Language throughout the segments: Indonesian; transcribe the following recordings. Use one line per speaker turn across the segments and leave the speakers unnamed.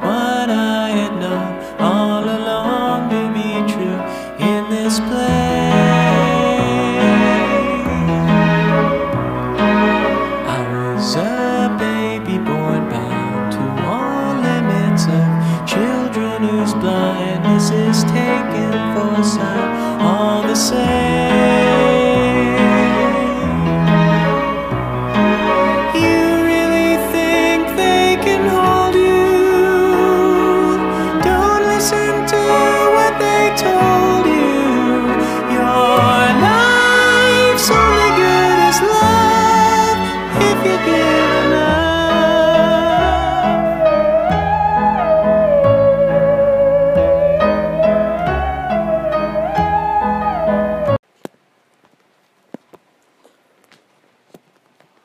what I had known all along to be true in this place. I was a baby born bound to all limits of children whose blindness is taken for sight, all the same. You really think they can hold you? Don't listen to what they told you. Your life's only good as love if you give enough.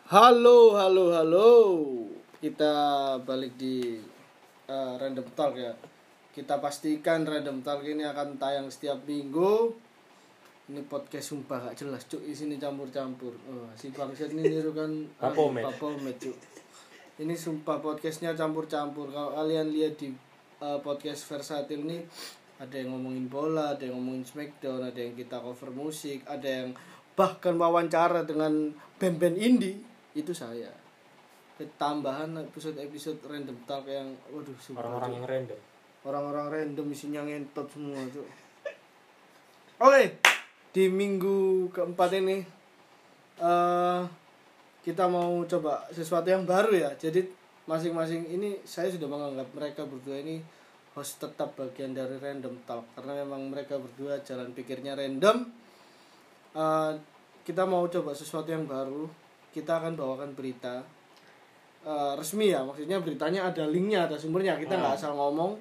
Halo, halo, halo. Kita balik di eh, Random Talk ya. Kita pastikan Random Talk ini akan tayang setiap minggu. Ini podcast sumpah gak jelas cuk isinya campur-campur. Oh, si bangsat ini nirukan eh,
Papomet.
Papomet, cuk. Ini sumpah podcastnya campur-campur. Kalau kalian lihat di eh, podcast versatil ini ada yang ngomongin bola, ada yang ngomongin Smackdown, ada yang kita cover musik, ada yang bahkan wawancara dengan band-band indie itu saya tambahan episode-episode random talk yang waduh sumpah,
orang-orang
Cuk.
yang random
orang-orang random isinya ngentot semua tuh oke di minggu keempat ini eh kita mau coba sesuatu yang baru ya jadi masing-masing ini saya sudah menganggap mereka berdua ini host tetap bagian dari random talk karena memang mereka berdua jalan pikirnya random Eh, kita mau coba sesuatu yang baru kita akan bawakan berita eh, resmi ya maksudnya beritanya ada linknya ada sumbernya kita nggak asal ngomong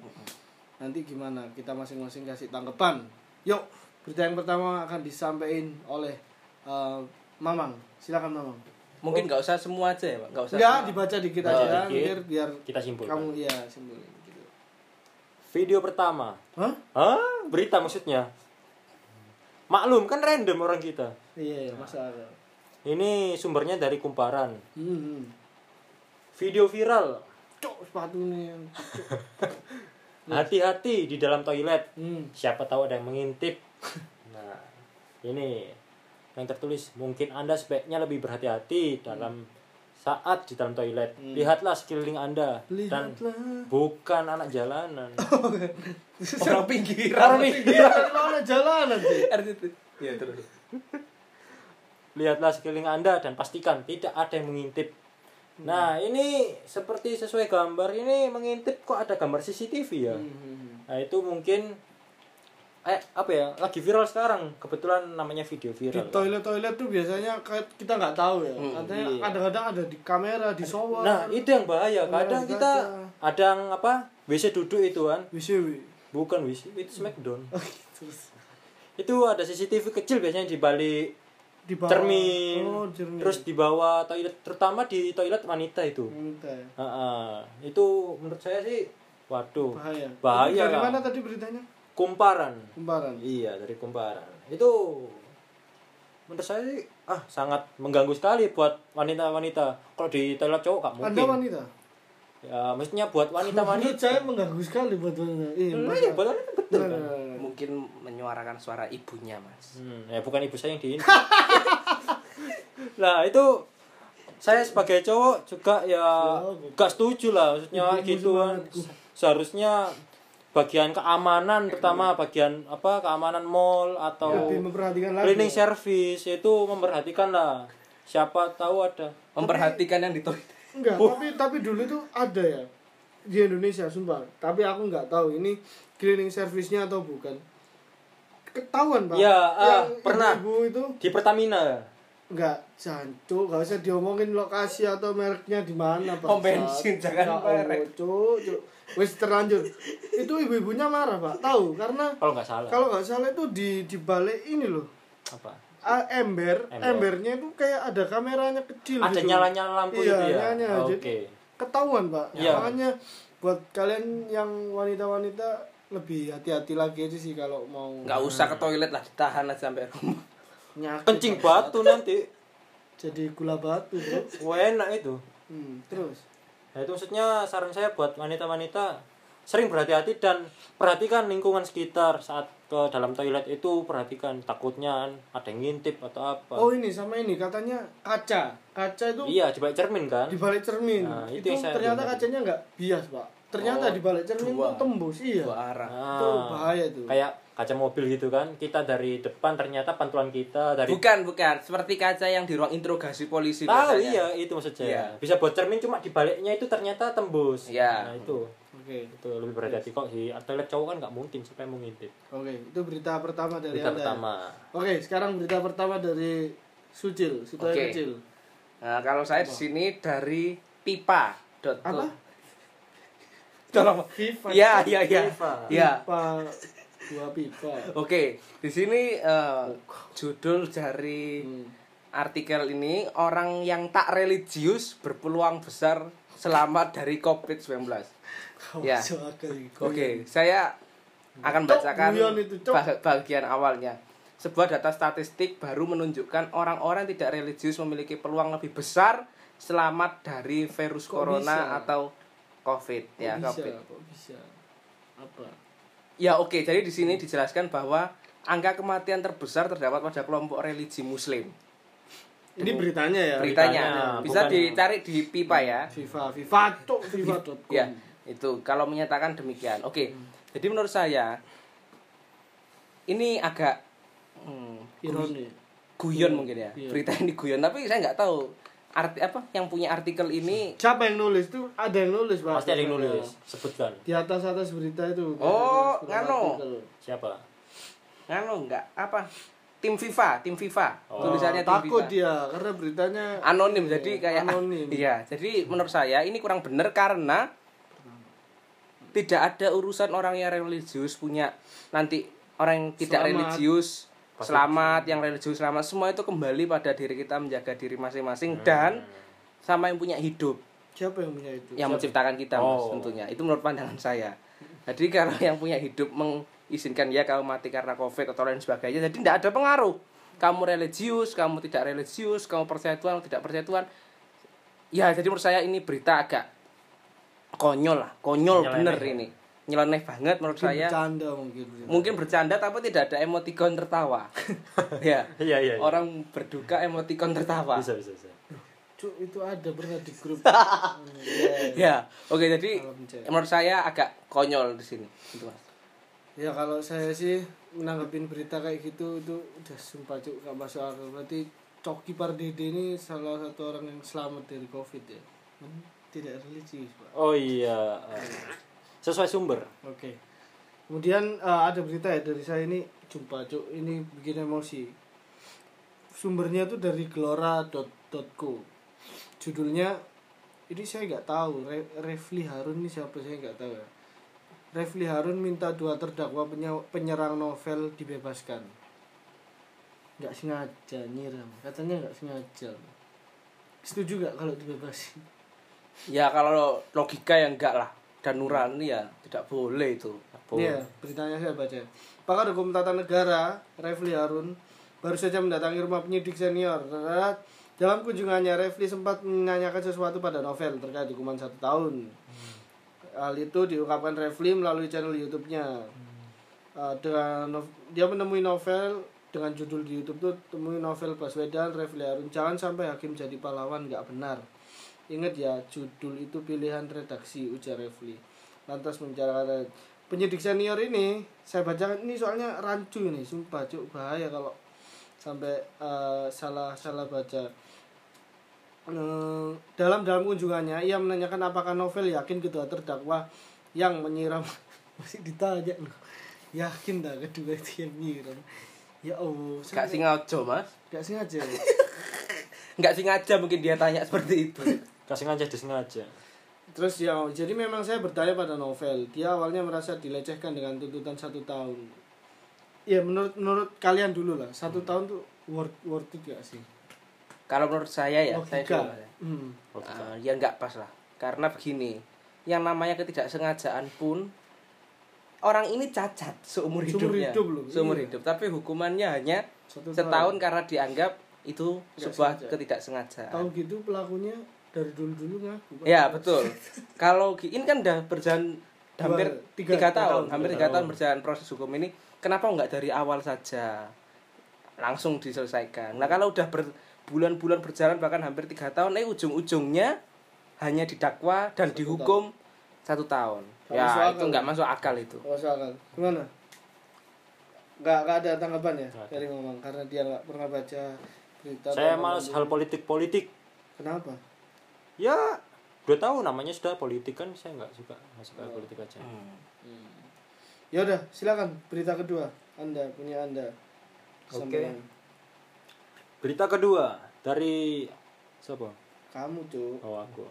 nanti gimana kita masing-masing kasih tanggapan yuk berita yang pertama akan disampaikan oleh eh, Mamang silakan Mamang
Mungkin nggak usah semua aja ya, Pak. Nggak usah.
Enggak,
semua.
dibaca dikit
Baca
aja
dikit.
biar biar
kita simpulkan
kamu iya simpulin gitu.
video pertama
Hah?
Hah? berita maksudnya maklum kan random orang kita
Iya, iya, masa ada.
ini sumbernya dari kumparan
Hmm.
video viral
Cok, sepatu nih. Nah.
hati-hati di dalam toilet
Hmm.
siapa tahu ada yang mengintip nah ini yang tertulis mungkin anda sebaiknya lebih berhati-hati dalam
Hmm.
saat di dalam toilet lihatlah sekeliling anda dan
Lihatlah.
bukan anak jalanan
orang pinggiran.
Orang pinggiran.
Iya, dari mana jalanan sih?
RCT. Iya, terus.
Lihatlah sekeliling Anda dan pastikan tidak ada yang mengintip. Nah,
Hmm.
ini seperti sesuai gambar ini mengintip kok ada gambar CCTV ya.
Hmm.
Nah, itu mungkin eh apa ya? Lagi viral sekarang. Kebetulan namanya video
Di
viral.
toilet-toilet tuh biasanya kayak kita nggak tahu ya. Katanya
iya.
kadang-kadang ada di kamera, di shower.
Nah, itu yang bahaya. Kadang
Ada-
kita
ada.
ada yang apa? WC duduk itu kan.
WC.
Bukan WC, itu Smackdown.
Terus
Itu ada CCTV kecil biasanya di balik
di bawah.
cermin.
Oh, cermin.
Terus di bawah toilet, terutama di toilet wanita itu.
Minta ya.
Heeh. itu menurut saya sih waduh
Bahaya.
bahaya
Dari
Kak.
mana tadi beritanya?
kumparan
Kumparan.
iya dari kumparan itu menurut saya sih ah sangat mengganggu sekali buat wanita-wanita kalau di toilet cowok gak mungkin
Anda wanita?
ya mestinya buat
Menurut
wanita-wanita
saya mengganggu sekali buat wanita. Iya,
Nah,
masa-
iya, buat wanita betul kan
Nah,
Mungkin menyuarakan suara ibunya, Mas.
Hmm, ya bukan ibu saya yang di nah itu saya sebagai cowok juga ya
Siap.
gak setuju lah maksudnya
Ibumu
gitu kan.
semangatku.
seharusnya bagian keamanan pertama bagian apa keamanan mall atau
Lebih memperhatikan lagi.
cleaning service itu memperhatikan lah siapa tahu ada
Memperhatikan yang di toilet.
Enggak,
Uh.
tapi tapi dulu itu ada ya di Indonesia sumpah. Tapi aku nggak tahu ini cleaning service-nya atau bukan. Ketahuan, Pak.
Ya, ah,
Yang
pernah.
Ibu itu
di Pertamina
enggak jancuk, enggak usah diomongin lokasi atau mereknya di mana, Pak. oh,
Pom Oh, bensin, jangan merek.
Cuk, cuk. Wis terlanjur. itu ibu-ibunya marah, Pak. Tahu karena
kalau nggak salah
kalau nggak salah itu di di balik ini loh.
apa
Ah, ember,
Ember.
embernya itu kayak ada kameranya kecil
ada
gitu.
nyala-nyala
Iya,
lampu itu ya
nyala,
oke
jadi- ketahuan pak
Iya.
makanya buat kalian yang wanita-wanita lebih hati-hati lagi aja sih kalau mau
Nggak
Hmm.
usah ke toilet lah, ditahan aja sampai rumah.
nyakit
kencing batu nanti
jadi gula batu bro
Wah, enak itu
Hmm, terus
Ya, itu maksudnya saran saya buat wanita-wanita sering berhati-hati dan perhatikan lingkungan sekitar saat ke dalam toilet itu perhatikan takutnya ada yang ngintip atau apa.
Oh ini sama ini katanya kaca. Kaca itu
iya, dibalik cermin kan?
di balik cermin.
Nah,
itu
itu yang saya
ternyata
dengar.
kacanya nggak bias pak. Ternyata
Oh,
di balik cermin
dua.
itu tembus iya.
dua arah
Nah,
Tuh, bahaya tuh.
Kayak kaca mobil gitu kan. Kita dari depan ternyata pantulan kita dari
bukan bukan seperti kaca yang di ruang interogasi polisi
Tahu
biasanya.
iya, itu maksud saya.
Iya.
Bisa buat cermin cuma di baliknya itu ternyata tembus.
Iya.
Nah, itu.
Oke
Itu lebih berhati-hati kok di toilet cowok kan nggak mungkin siapa yang mau ngintip.
oke itu berita pertama dari
Berita
Anda.
pertama.
Oke sekarang berita pertama dari Sucil Sutoyo
Oke.
kecil.
Nah, kalau saya di sini dari pipa dot
Apa?
tolong
Pipa.
ya ya ya
Pipa.
ya
Pipa dua pipa.
oke di sini eh, judul dari
Hmm.
artikel ini orang yang tak religius berpeluang besar selamat dari covid 19 Ya.
Masuk akal gitu. ini.
Oke, saya
Iya.
akan
Cok,
bacakan
guyon itu, cok.
bah- bagian awalnya. Sebuah data statistik baru menunjukkan orang-orang tidak religius memiliki peluang lebih besar selamat dari virus
Kok bisa?
corona atau COVID
Kok
ya,
bisa?
COVID.
Kok bisa? Apa?
Ya, oke. Jadi di sini dijelaskan bahwa angka kematian terbesar terdapat pada kelompok religi muslim.
Ini beritanya ya.
Beritanya
Beritanya,
bisa
bukan-
dicari di pipa ya.
FIFA, FIFA, cok, FIFA.com.
Ya, itu kalau menyatakan demikian. Oke.
Hmm.
Jadi menurut saya ini agak hmm,
Ironi.
guyon mungkin ya.
Iya.
Berita ini guyon, tapi saya nggak tahu arti apa yang punya artikel ini.
Siapa yang nulis tuh? Ada yang nulis, Pak.
Pasti ada yang nulis. Sebutkan.
Di atas atas berita itu.
Oh,
Ada yang nulis,
ngano.
artikel.
Siapa?
Nganu nggak apa? Tim FIFA, tim FIFA.
Oh,
Tulisannya tim
takut
FIFA.
dia karena beritanya
Anonim jadi kayak
Anonim.
Iya, jadi menurut saya ini kurang benar karena tidak ada urusan orang yang religius punya nanti orang yang tidak
Selamat.
religius selamat, yang religius selamat semua itu kembali pada diri kita menjaga diri masing-masing dan sama yang punya hidup.
siapa yang punya itu?
yang menciptakan kita mas
Oh.
tentunya itu menurut pandangan saya jadi kalau yang punya hidup mengizinkan ya kamu mati karena covid atau lain sebagainya jadi tidak ada pengaruh kamu religius kamu tidak religius kamu percaya Tuhan tidak percaya Tuhan ya jadi menurut saya ini berita agak konyol lah konyol
Nyeleneh.
bener ini nyeleneh banget menurut
Mungkin
saya
bercanda mungkin.
mungkin bercanda tapi tidak ada emoticon tertawa ya
Iya, iya. iya.
orang berduka emoticon tertawa
bisa bisa bisa.
Cuk, itu ada pernah di grup.
ya oke jadi
Salam cek.
menurut saya agak konyol di sini Gitu, Mas.
ya kalau saya sih menanggapin berita kayak gitu itu udah sumpah cuk gak masuk akal. Berarti Coki Pardede ini salah satu orang yang selamat dari Covid ya. Hmm, Tidak religius, Pak.
Oh iya. eh, Sesuai sumber.
Oke. Kemudian eh, ada berita ya dari saya ini jumpa cuk ini bikin emosi. Sumbernya tuh dari gelora.co. Judulnya ini saya nggak tahu Re- Refli Harun ini siapa saya nggak tahu ya. Refli Harun minta dua terdakwa penye- penyerang novel dibebaskan. Nggak sengaja nyiram, katanya nggak sengaja. Setuju nggak kalau dibebasin?
ya kalau logika yang enggak lah dan nurani ya tidak boleh itu
Iya, beritanya saya baca. Pakar Hukum Tata Negara, Refli Harun, baru saja mendatangi rumah penyidik senior. Dalam kunjungannya, Refli sempat menanyakan sesuatu pada novel terkait hukuman satu tahun. Hal itu diungkapkan Refli melalui channel YouTube-nya. Eh, dengan nov- dia menemui novel dengan judul di YouTube tuh temui novel Baswedan Refli Harun jangan sampai hakim jadi pahlawan nggak benar Ingat ya, judul itu pilihan redaksi ujar Refli. Lantas menjarakan penyidik senior ini, saya baca ini soalnya rancu ini, sumpah cuk bahaya kalau sampai eh, salah-salah baca. Eh, dalam dalam kunjungannya ia menanyakan apakah novel yakin kedua terdakwa yang menyiram masih ditanya loh. Yakin dah kedua itu yang nyiram. Ya Allah, saya
enggak sengaja mas
nggak sengaja.
enggak sengaja mungkin dia tanya seperti itu
Kasih sengaja disengaja.
Terus ya, jadi memang saya bertanya pada novel. Dia awalnya merasa dilecehkan dengan tuntutan satu tahun. Ya menurut menurut kalian dulu lah, satu tahun tuh worth worth it gak sih?
kalau menurut saya ya saya
Logika.
juga,
Hmm.
eh, ya enggak pas lah karena begini yang namanya ketidaksengajaan pun orang ini cacat seumur
Seumur
hidupnya
hidup loh,
seumur
iya.
hidup tapi hukumannya hanya
Satu
setahun karena dianggap itu
Nggak
sebuah
sengaja.
ketidaksengajaan
Tahu gitu pelakunya dari dulu dulu ngaku Pak.
Ya betul. Kalau Gi- ini kan udah berjalan hampir
Dua, tiga-
tiga,
tiga tahun.
tahun, hampir
Tiga
tiga tahun
tahun.
berjalan proses hukum ini, kenapa nggak dari awal saja langsung diselesaikan? Nah kalau udah berbulan-bulan berjalan bahkan hampir tiga tahun, eh ujung-ujungnya hanya didakwa dan dihukum satu tahun.
Nggak
ya
masuk
itu
akal.
nggak masuk akal itu.
Nggak masuk akal. kan, Gimana? Nggak, nggak ada tanggapan ya dari Mamang karena dia nggak pernah baca berita.
saya
atau
males hal politik politik
Kenapa?
ya udah tahu namanya sudah politik kan saya nggak suka nggak suka politik aja
Ya udah, silakan berita kedua. Anda punya Anda.
Oke.
Sampaikan.
berita kedua dari siapa
Kamu, Cuk.
oh aku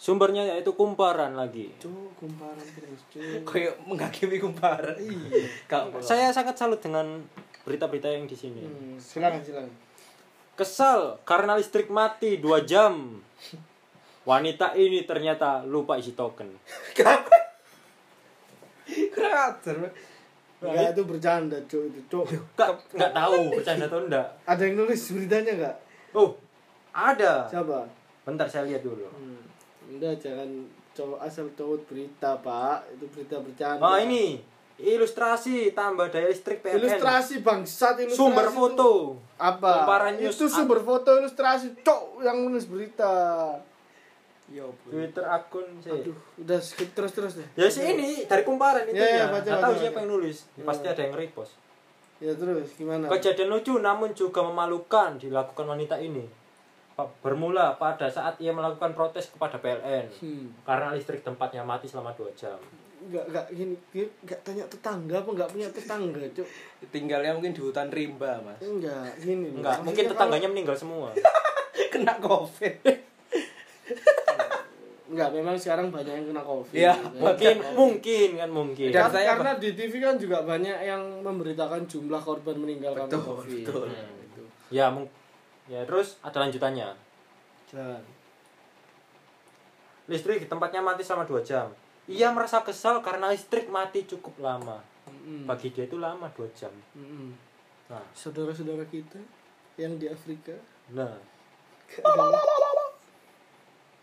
sumbernya yaitu kumparan lagi
Cuk, kumparan terus, Cuk.
Kayak menghakimi kumparan. Kalau
saya sangat salut dengan berita-berita yang di sini
Hmm, silakan, silakan.
Kesal karena listrik mati 2 jam. Wanita ini ternyata lupa isi token.
kurang ajar. Pak.
Nah,
Enggak itu bercanda, Cuk, itu, Cuk.
Kak, nggak tahu bercanda atau enggak.
Ada yang nulis beritanya enggak?
Oh, ada.
Siapa?
Bentar saya lihat dulu.
Hmm. Anda jangan cowok asal cowok berita, Pak. Itu berita bercanda.
Oh, ini ilustrasi tambah daya listrik PLN.
ilustrasi bangsat ilustrasi
Sumber
itu.
foto.
apa
Kumparan news.
itu sumber foto ilustrasi cok yang nulis berita
Twitter akun sih.
aduh udah skip terus terus deh
Iya. Ya sih ini dari kumparan
Ya,
itu
ya,
ya.
baca,
Nggak
baca,
tahu
baca.
siapa yang nulis. Pasti ada yang repost.
ya terus gimana
Kejadian lucu namun juga memalukan dilakukan wanita ini. Pa- Bermula pada saat ia melakukan protes kepada PLN
Hmm.
karena listrik tempatnya mati selama 2 jam.
nggak nggak gini gini, nggak tanya tetangga apa nggak punya tetangga cok
Tinggalnya mungkin di hutan rimba mas.
enggak gini loh.
Enggak, mungkin
Maksudnya
tetangganya meninggal semua.
Kena covid.
kalau- enggak memang sekarang banyak yang kena covid
Ya,
Iya, mungkin mungkin kan mungkin.
Kan-
Dan saya-
karena di TV kan juga banyak yang memberitakan jumlah korban meninggal Iya, karena
Betul,
covid
betul.
gitu.
Ya, mung- ya terus ada lanjutannya.
Dan,
Listrik di tempatnya mati selama 2 jam. Ia merasa kesal karena listrik mati cukup lama.
Hmm.
mm-mm,
Bagi dia itu lama 2 jam.
mm-mm.
Nah,
saudara-saudara kita yang di Afrika
nah.
adalah-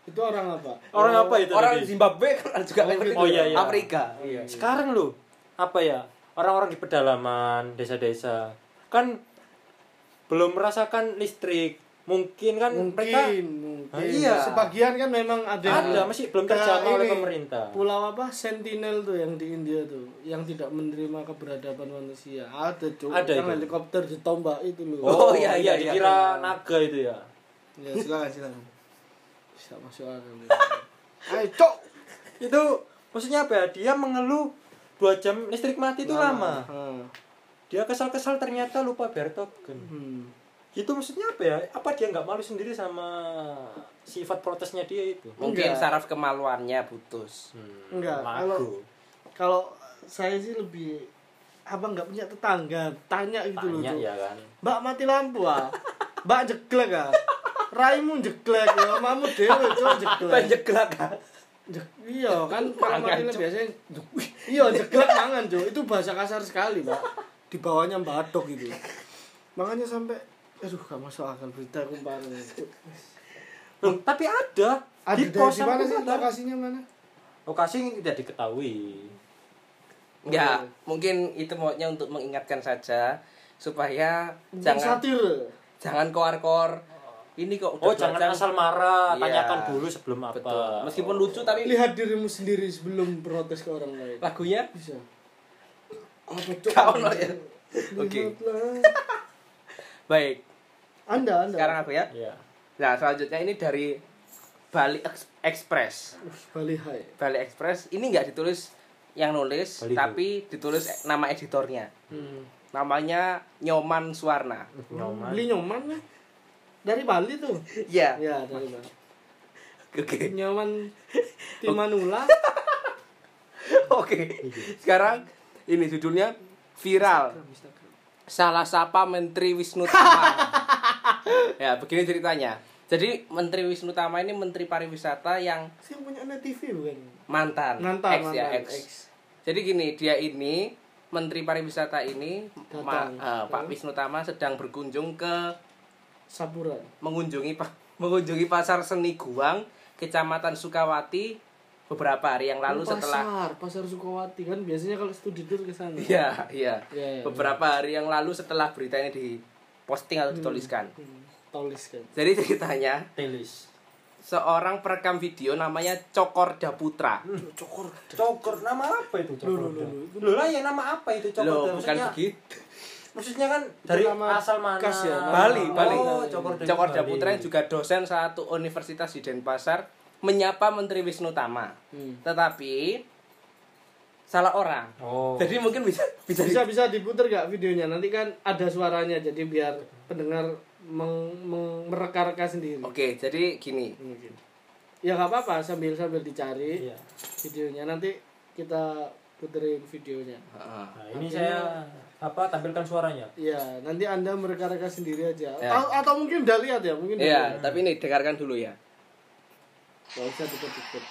itu orang apa
Orang apa itu
Oh, Orang
tadi?
Zimbabwe kan juga
Oh,
Afrika.
oh, iya, iya.
Afrika. Iya.
sekarang lo apa ya orang-orang di pedalaman desa-desa kan belum merasakan listrik mungkin kan mereka
mungkin mungkin
Ah, iya.
sebagian kan memang ada yang-
Ada, masih
Nah,
belum
Kayak
terjangkau oleh
ini,
pemerintah.
pulau apa Sentinel tuh yang di India tuh yang tidak menerima keberadaban manusia ada tuh
Ada
yang
itu.
helikopter ditombak itu loh
Oh, iya, iya, iya.
dikira naga itu ya
ya silakan silakan bisa masuk akal ya. ayo cok
itu maksudnya apa ya dia mengeluh dua jam listrik mati itu lama
Ah,
dia kesal-kesal ternyata lupa bayar token
hmm.
itu maksudnya apa ya apa dia nggak malu sendiri sama sifat protesnya dia itu
Mungkin
Enggak.
saraf kemaluannya putus.
hmm,
Enggak,
lagu.
kalau saya sih lebih apa nggak punya tetangga tanya gitu loh
tanya
Cuk.
ya kan
Mbak mati lampu ah. Mbak jeglek ah. Raimu jeglek ya, mamu dhewe cuk jeglek.
Penjeglak.
Jeg- Iya kan kalau
Mangan,
mati lampu
Cuk.
biasanya iya jeglek mangan cuk. Itu bahasa kasar sekali, Pak. Di bawahnya mbadok gitu. Makanya sampai aduh gak masuk akal berita kumparan itu.
Loh, tapi ada
Ada
di
dari
kosan
mana sih
ada.
lokasinya mana?
Lokasi tidak diketahui.
Ya, mungkin itu maunya untuk mengingatkan saja supaya
Jangan
jangan
satir.
jangan koar-koar. Ini kok udah
Oh,
dua
jangan
jam.
asal marah,
Iya.
tanyakan dulu sebelum apa.
Betul. Meskipun lucu tapi
Lihat dirimu sendiri sebelum protes ke orang lain.
lagunya
Bisa. Apa cuk?
Kau lo ya. Oke.
Lihatlah.
Baik.
Anda, Anda.
Sekarang aku ya.
Iya.
Nah, selanjutnya ini dari Bali Ex- Express.
Bali Hai.
Bali Express ini nggak ditulis yang nulis,
Bali
tapi ditulis nama editornya.
Hmm.
Namanya Nyoman Suwarna.
Nyoman.
Beli nyoman lah. Dari Bali tuh.
Iya.
Ya, dari Bali.
Oke.
Nyoman Timanula.
Oke. Sekarang ini judulnya viral. Salah sapa Menteri Wisnu Tama. ya, begini ceritanya. Jadi Menteri Wisnu Tama ini Menteri Pariwisata yang
Saya punya anak TV bukan?
mantan.
Mantan,
Ex ya,
mantan,
ex.
ex.
Jadi gini, dia ini Menteri Pariwisata ini Ma-
Datang.
eh, Pak Wisnu Tama sedang berkunjung ke
Sapura.
mengunjungi Pak mengunjungi pasar seni Guang, Kecamatan Sukawati beberapa hari yang lalu
pasar,
setelah
Oh, pasar Sukawati kan biasanya kalau studi tour ke sana.
Iya, iya.
Iya, iya,
Beberapa hari yang lalu setelah berita ini diposting atau dituliskan.
Hmm, Tulis kan.
Jadi ceritanya
Telis.
seorang perekam video namanya Cokor Daputra.
Cokor.
Cokor nama apa
Loh,
itu cokor?
loh, loh,
Loh lah ya nama apa itu cokor? ya.
Loh, bukan
maksudnya,
begitu.
maksudnya kan dari
nama
asal mana?
khas ya, nama-
Bali, Bali.
Oh, cokor ya. dari
Cokor
Bali.
Daputra yang juga dosen satu universitas di Denpasar menyapa Menteri Wisnu Tama.
Hmm.
Tetapi salah orang.
Oh.
Jadi mungkin bisa bisa,
Bisa bisa diputer gak videonya? Nanti kan ada suaranya jadi biar pendengar meng, meng- mereka-reka sendiri.
Oke, jadi gini.
Mungkin. Ya nggak apa-apa sambil sambil dicari
Iya.
videonya nanti kita puterin videonya.
Heeh.
Nah, ini saya apa tampilkan suaranya.
Iya, nanti Anda mereka-reka sendiri aja.
Ya.
Atau, atau mungkin udah lihat ya, mungkin udah
Iya, tapi ini dengarkan dulu ya.
Gak usah deket-deket.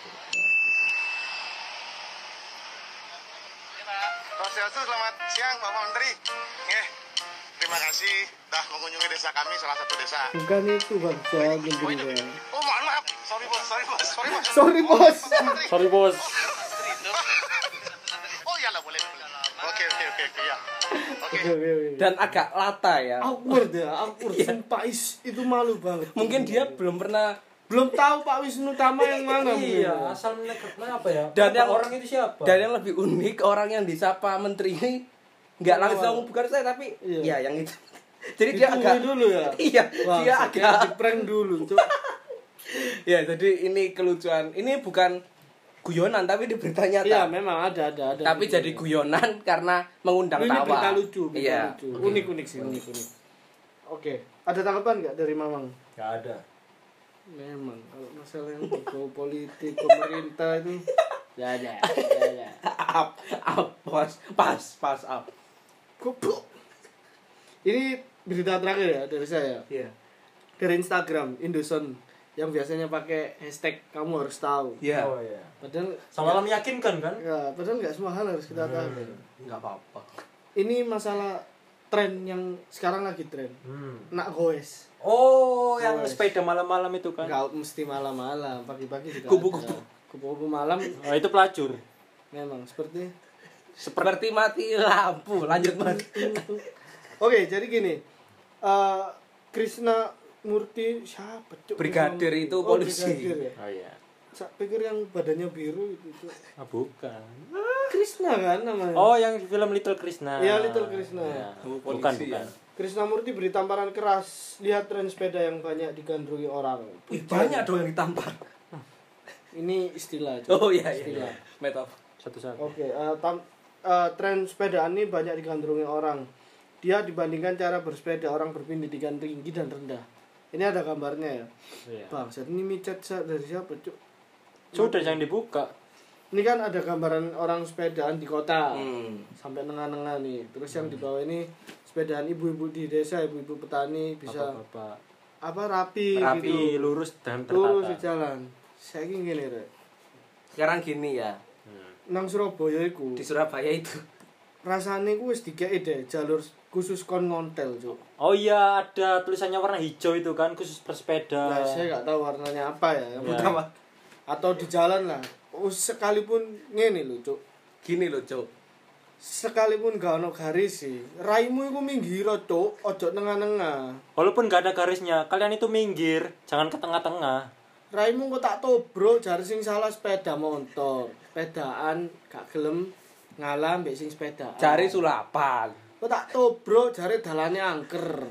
Swastiastu, selamat siang Bapak Menteri. Nggih, terima kasih telah mengunjungi desa kami, salah satu desa.
Bukan itu bangsa negeri saya.
Oh, mohon maaf. Sorry, Bos. Sorry, Bos. Sorry, Bos.
ya. Sorry, Bos.
Sorry bos.
Oh, iyalah, boleh. boleh. Oke, oke, oke, oke, ya. Oke.
Oke, oke, oke.
Dan agak lata ya.
awkward ya, awkward. Sumpah is, itu malu banget.
Iya. Mungkin dia belum pernah
belum tahu Pak Wisnu Tama yang mana. mungkin.
Iya, asal menegaknya apa ya?
Dan
Apa
yang-
orang itu siapa?
dan yang lebih unik orang yang disapa menteri ini nggak langsung bukan saya tapi
Iya.
ya yang itu. Jadi dia
Ditunggu
agak
dulu ya.
Iya,
Wah,
dia
saya
agak
di prank dulu, Cuk.
Ya, jadi ini kelucuan. Ini bukan guyonan tapi di berita nyata.
Iya, memang ada ada ada.
tapi jadi guyonan karena mengundang
Ini
tawa.
berita lucu, berita
Iya.
lucu. Unik-unik sih, unik-unik. Oke, ada tanggapan nggak dari Mamang?
Gak ada.
Memang kalau masalah yang berbau politik pemerintah itu ya ada, ya ada.
Up, up, pas, pas, pas up.
Goblok. Ini berita terakhir ya dari saya.
Iya.
Dari Instagram Indoson yang biasanya pakai hashtag kamu harus tahu.
Iya.
Oh iya.
Padahal
Salah meyakinkan kan?
ya, padahal nggak semua hal harus kita tahu.
Enggak apa-apa.
Ini masalah tren yang sekarang lagi tren.
Hmm.
Nak goes.
Oh, yang
Guys.
sepeda malam-malam itu kan?
Enggak mesti malam-malam, pagi-pagi juga.
Kupu-kupu.
ada. Kupu-kupu malam
Oh, itu pelacur.
memang seperti
Seperti mati lampu. Lanjut, Mas.
Oke, jadi gini. Eh Krishna Murti siapa? Cuk?
Brigadir itu
Oh,
polisi.
brigadir ya.
Oh iya.
Saya pikir yang badannya biru itu. Cuk.
Ah, bukan.
Krishna kan namanya.
Oh, yang film Little Krishna.
Iya, Little Krishna.
Iya.
Oh, polisi
Bukan,
ya.
bukan.
Krishna Murti beri tamparan keras. Lihat tren sepeda yang banyak digandrungi orang.
Wih, banyak dong yang ditampar.
Ini istilah. Cuk.
Oh iya iya.
Istilah.
iya. Metafor.
Satu-satu.
Oke, eh, tam- eh, tren sepedaan ini banyak digandrungi orang. Dia dibandingkan cara bersepeda orang berpendidikan tinggi dan rendah. Ini ada gambarnya ya.
Iya.
Bang, saat ini micet sa- dari siapa, Cuk?
Sudah jangan dibuka.
Ini kan ada gambaran orang sepedaan di kota.
Hmm.
Sampai nengah-nengah nih. Terus yang di bawah ini sepedaan ibu-ibu di desa, ibu-ibu petani bisa apa,
Bapak-bapak.
rapi,
Rapi.
gitu.
Tapi lurus dan
Turun di
tertata.
jalan. Saya ingin gini, Rek.
Sekarang gini ya.
Hmm.
Nang Surabaya iku
Di Surabaya itu
rasane ku wis dikei deh jalur khusus kon ngontel, Cuk.
Oh iya, ada tulisannya warna hijau itu kan khusus bersepeda.
Nah, saya nggak tahu warnanya apa ya. yang
Iya.
pertama. Atau di jalan lah. Oh, sekalipun ngene lho, Cuk.
gini loh, Cok.
Sekalipun gak ono garis sih. Raimu iku minggir, Cuk. Ojo nengah-nengah.
Walaupun gak ada garisnya, kalian itu minggir, jangan ke tengah-tengah.
Raimu kok tak tobro jar sing salah sepeda motor. Sepedaan gak gelem ngalah mbek sing sepedaan.
Cari sulapan.
Kok tak tobro jare dalane angker.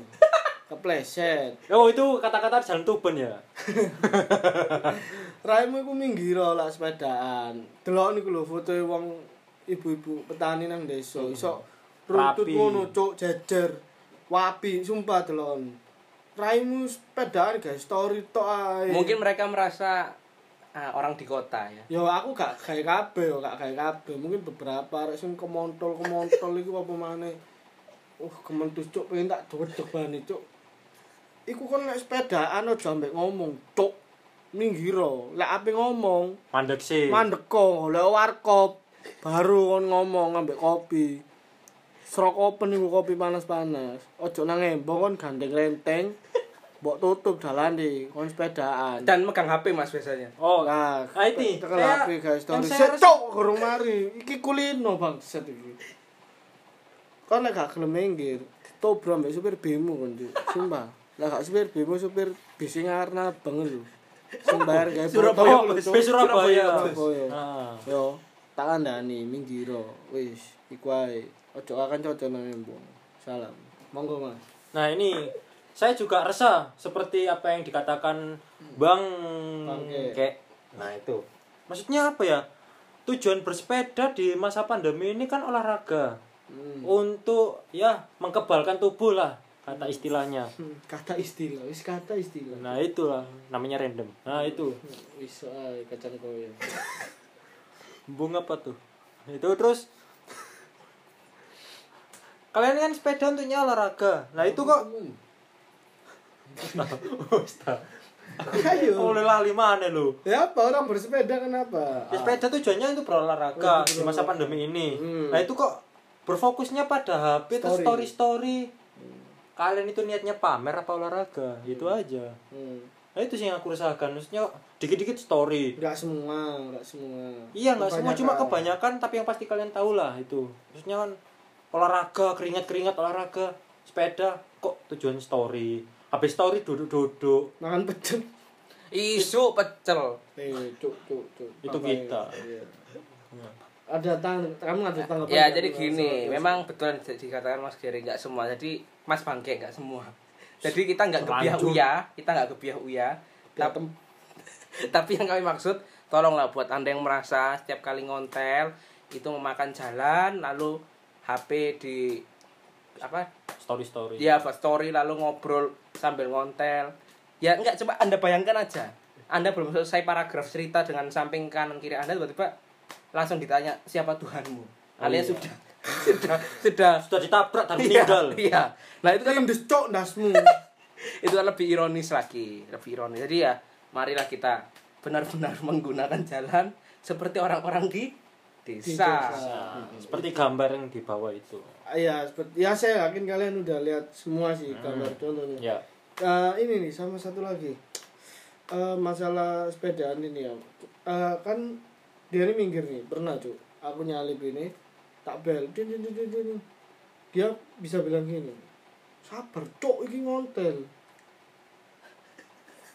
Kepleset.
Oh, itu kata-kata jalan Tuban ya.
Raimu iku minggir lah sepedaan. Delok niku lho fotoe wong ibu-ibu petani nang desa. Iso runtut
Rapi.
ngono cuk jejer. Wapi sumpah delon. Raimu sepedaan guys story tok ae.
Mungkin mereka merasa ah, orang di kota ya.
Ya aku gak gawe kabeh, yo, gak gawe kabeh. Mungkin beberapa arek sing kemontol-kemontol iku apa maneh. Uh, kementus cuk pengen tak dodeg bane cuk. Iku kon nek sepedaan aja mbek ngomong, cuk. Minggiro, lek ape ngomong,
Mandek sih.
mandeko golek warkop, baru kon ngomong ambek kopi. Srok open iku kopi panas-panas. Ojo nang embong kon gandeng renteng. mbok tutup dalan di kon sepedaan.
dan megang HP Mas biasanya.
Oh,
Nah,
ah, ini.
tekel
Saya-
HP guys, story.
yang saya
Set
harus-
cok kurung mari. Iki kulino bang set iki. Kon nek gak gelem minggir, tobro mbek supir bemo kon Cuk. Sumpah. Lah gak supir bemo supir bis sing arna bengen lho. Sing bayar gawe
Surabaya,
botol, Cuk.
Surabaya. Surabaya.
Surabaya.
Ah.
Oh, iya. Yo, tak kandhani minggiro. Wis, iku ae. Ojo akan cocok nang mbok. Salam. Monggo Mas.
Nah ini saya juga resah seperti apa yang dikatakan Bang
Bang Ke.
Ke. Nah itu. Maksudnya apa ya? Tujuan bersepeda di masa pandemi ini kan olahraga. Untuk ya mengkebalkan tubuh lah kata istilahnya.
Hmm, Kata istilah, wis kata istilah.
Nah itulah namanya random. Nah itu.
Wis ae kacang koyo.
Embung apa tuh? Itu terus Kalian kan sepeda untuknya olahraga. Nah itu kok Oh,
Ayo.
oleh lali mana lu?
Ya apa orang bersepeda kenapa?
Ya, sepeda tujuannya untuk berolahraga di masa pandemi ini.
Iya, Hmm.
Nah itu kok berfokusnya pada HP
Story.
terus
Hmm.
story story. Kalian itu niatnya pamer apa olahraga? Itu aja.
Hmm.
Nah itu sih yang aku resahkan. Maksudnya dikit-dikit story.
Enggak semua, enggak semua.
Iya nggak semua cuma
Kebanyakan.
kebanyakan tapi yang pasti kalian tahu lah itu. Maksudnya kan olahraga keringat-keringat olahraga sepeda kok tujuan story. Habis story duduk-duduk
Makan pecel.
Isu pecel.
Eh, cuk cuk cuk.
Itu
Apa ya?
kita.
Iya. Ada tang kamu ada tanggapan?
Ya
nggak?
jadi gini,
Soal-
memang betul yang dikatakan Mas Gary nggak semua. Jadi Mas Bangke nggak semua. Jadi kita nggak kebiah
Lanjut.
uya, kita nggak kebiah uya. Tapi, tapi yang kami maksud, tolonglah buat anda yang merasa setiap kali ngontel itu memakan jalan, lalu HP di apa?
story story.
Iya.
Ya buat story lalu ngobrol sambil ngontel. Ya nggak coba anda bayangkan aja. Anda belum selesai paragraf cerita dengan samping kanan kiri anda tiba-tiba langsung ditanya siapa Tuhanmu. Alias sudah sudah sudah
Oh, iya. Sudah ditabrak dan
Iya,
meninggal.
Iya. Nah itu kan
Tindis cok dasmu.
itu kan lebih ironis lagi, lebih ironis. Jadi ya, marilah kita benar-benar menggunakan jalan seperti orang-orang di desa.
Nah, seperti gambar yang di bawah itu.
Iya, seperti ya saya yakin kalian udah lihat semua sih gambar contohnya.
Ya.
Eh, ini nih sama satu lagi Eh, masalah sepedaan ini ya Eh, kan dia ini minggir nih pernah cuk aku nyalip ini tak bel din, din, din, din, din. dia bisa bilang gini sabar cuk ini ngontel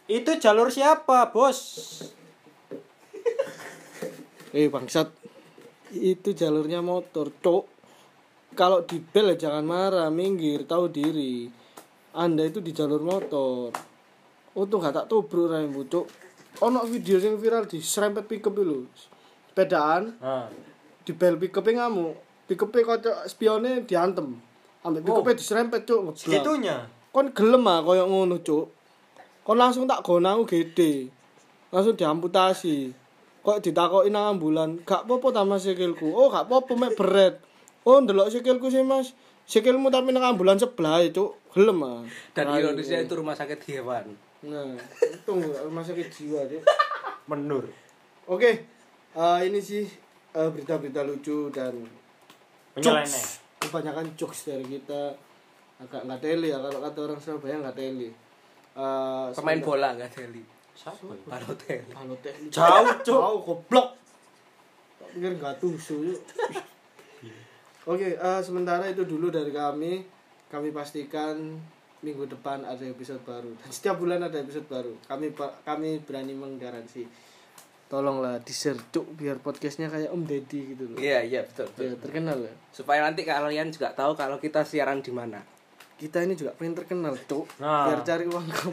Itu jalur siapa, Bos?
eh bangsat itu jalurnya motor cuk kalau di bel ya jangan marah minggir tahu diri anda itu di jalur motor untung gak tak tubruk rambut cuk ono video yang viral di serempet pickup dulu sepedaan
Nah,
di bel pickup ngamuk pickup kocok spione diantem ambek pickup
Oh.
diserempet cuk ngeblak.
segitunya.
kon gelem ah koyo ngono cuk kon langsung tak gono aku gede langsung diamputasi kok ditakoki nang ambulan gak popo ta mas sikilku oh gak popo mek beret oh ndelok sikilku sih mas sikilmu tapi nang ambulan sebelah ya, cuk gelem ah
Dan
Nah,
ironisnya itu rumah sakit hewan.
nah untung gak rumah sakit jiwa cuk
Menur.
oke eh, ini sih eh, berita-berita lucu dan
Penyeleneh.
kebanyakan jokes dari kita agak nggak teli ya kalau kata orang Surabaya nggak teli Eh,
Pemain
sebentar-
bola nggak teli.
Siapa? ya?
Balotelli.
Balotelli.
Jauh, Cuk.
jauh goblok tak pikir nggak tusu yuk oke eh, sementara itu dulu dari kami kami pastikan minggu depan ada episode baru dan setiap bulan ada episode baru kami pa- kami berani menggaransi tolonglah di share Cuk, biar podcastnya kayak Om Deddy gitu loh
Iya, iya betul, betul.
Ya, terkenal ya
Supaya nanti kalian juga tahu kalau kita siaran di mana.
kita ini juga pengen terkenal cuk
Nah.
biar cari uang kau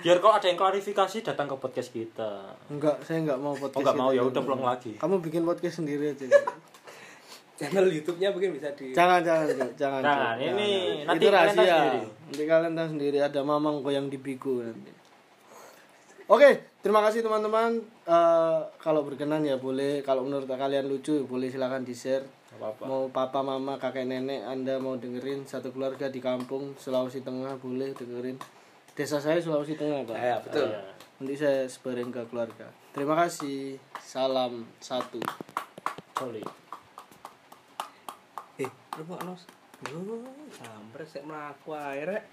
Biar kalau ada yang klarifikasi datang ke podcast kita.
enggak saya enggak mau podcast
Oh nggak mau
itu.
ya udah pulang lagi.
kamu bikin podcast sendiri aja
Channel YouTube-nya mungkin bisa di
jangan jangan Cuk. jangan Cuk.
Jangan, ini
Jangan.
nanti
itu
kalian tahu
rahasia
sendiri.
nanti kalian tahu sendiri ada mamang goyang di biku nanti oke terima kasih teman-teman Eh, kalau berkenan ya boleh kalau menurut kalian lucu ya boleh silahkan di share
Nggak apa-apa.
mau papa mama kakek nenek anda mau dengerin satu keluarga di kampung Sulawesi Tengah boleh dengerin desa saya Sulawesi Tengah pak
Ya, betul.
Iya.
Nanti saya sebarin ke keluarga. Terima kasih. Salam satu.
Sorry.
Eh, lu mau nos? Duh, sampai saya melaku air. rek.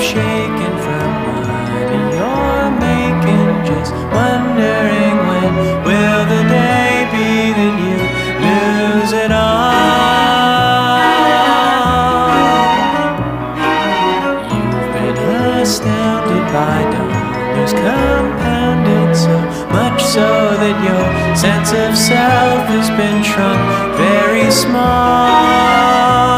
shaken from what you're making. Just wondering when will the day be that you lose it all? You've been astounded by dollars compounded so much so that your sense of self has been shrunk very small.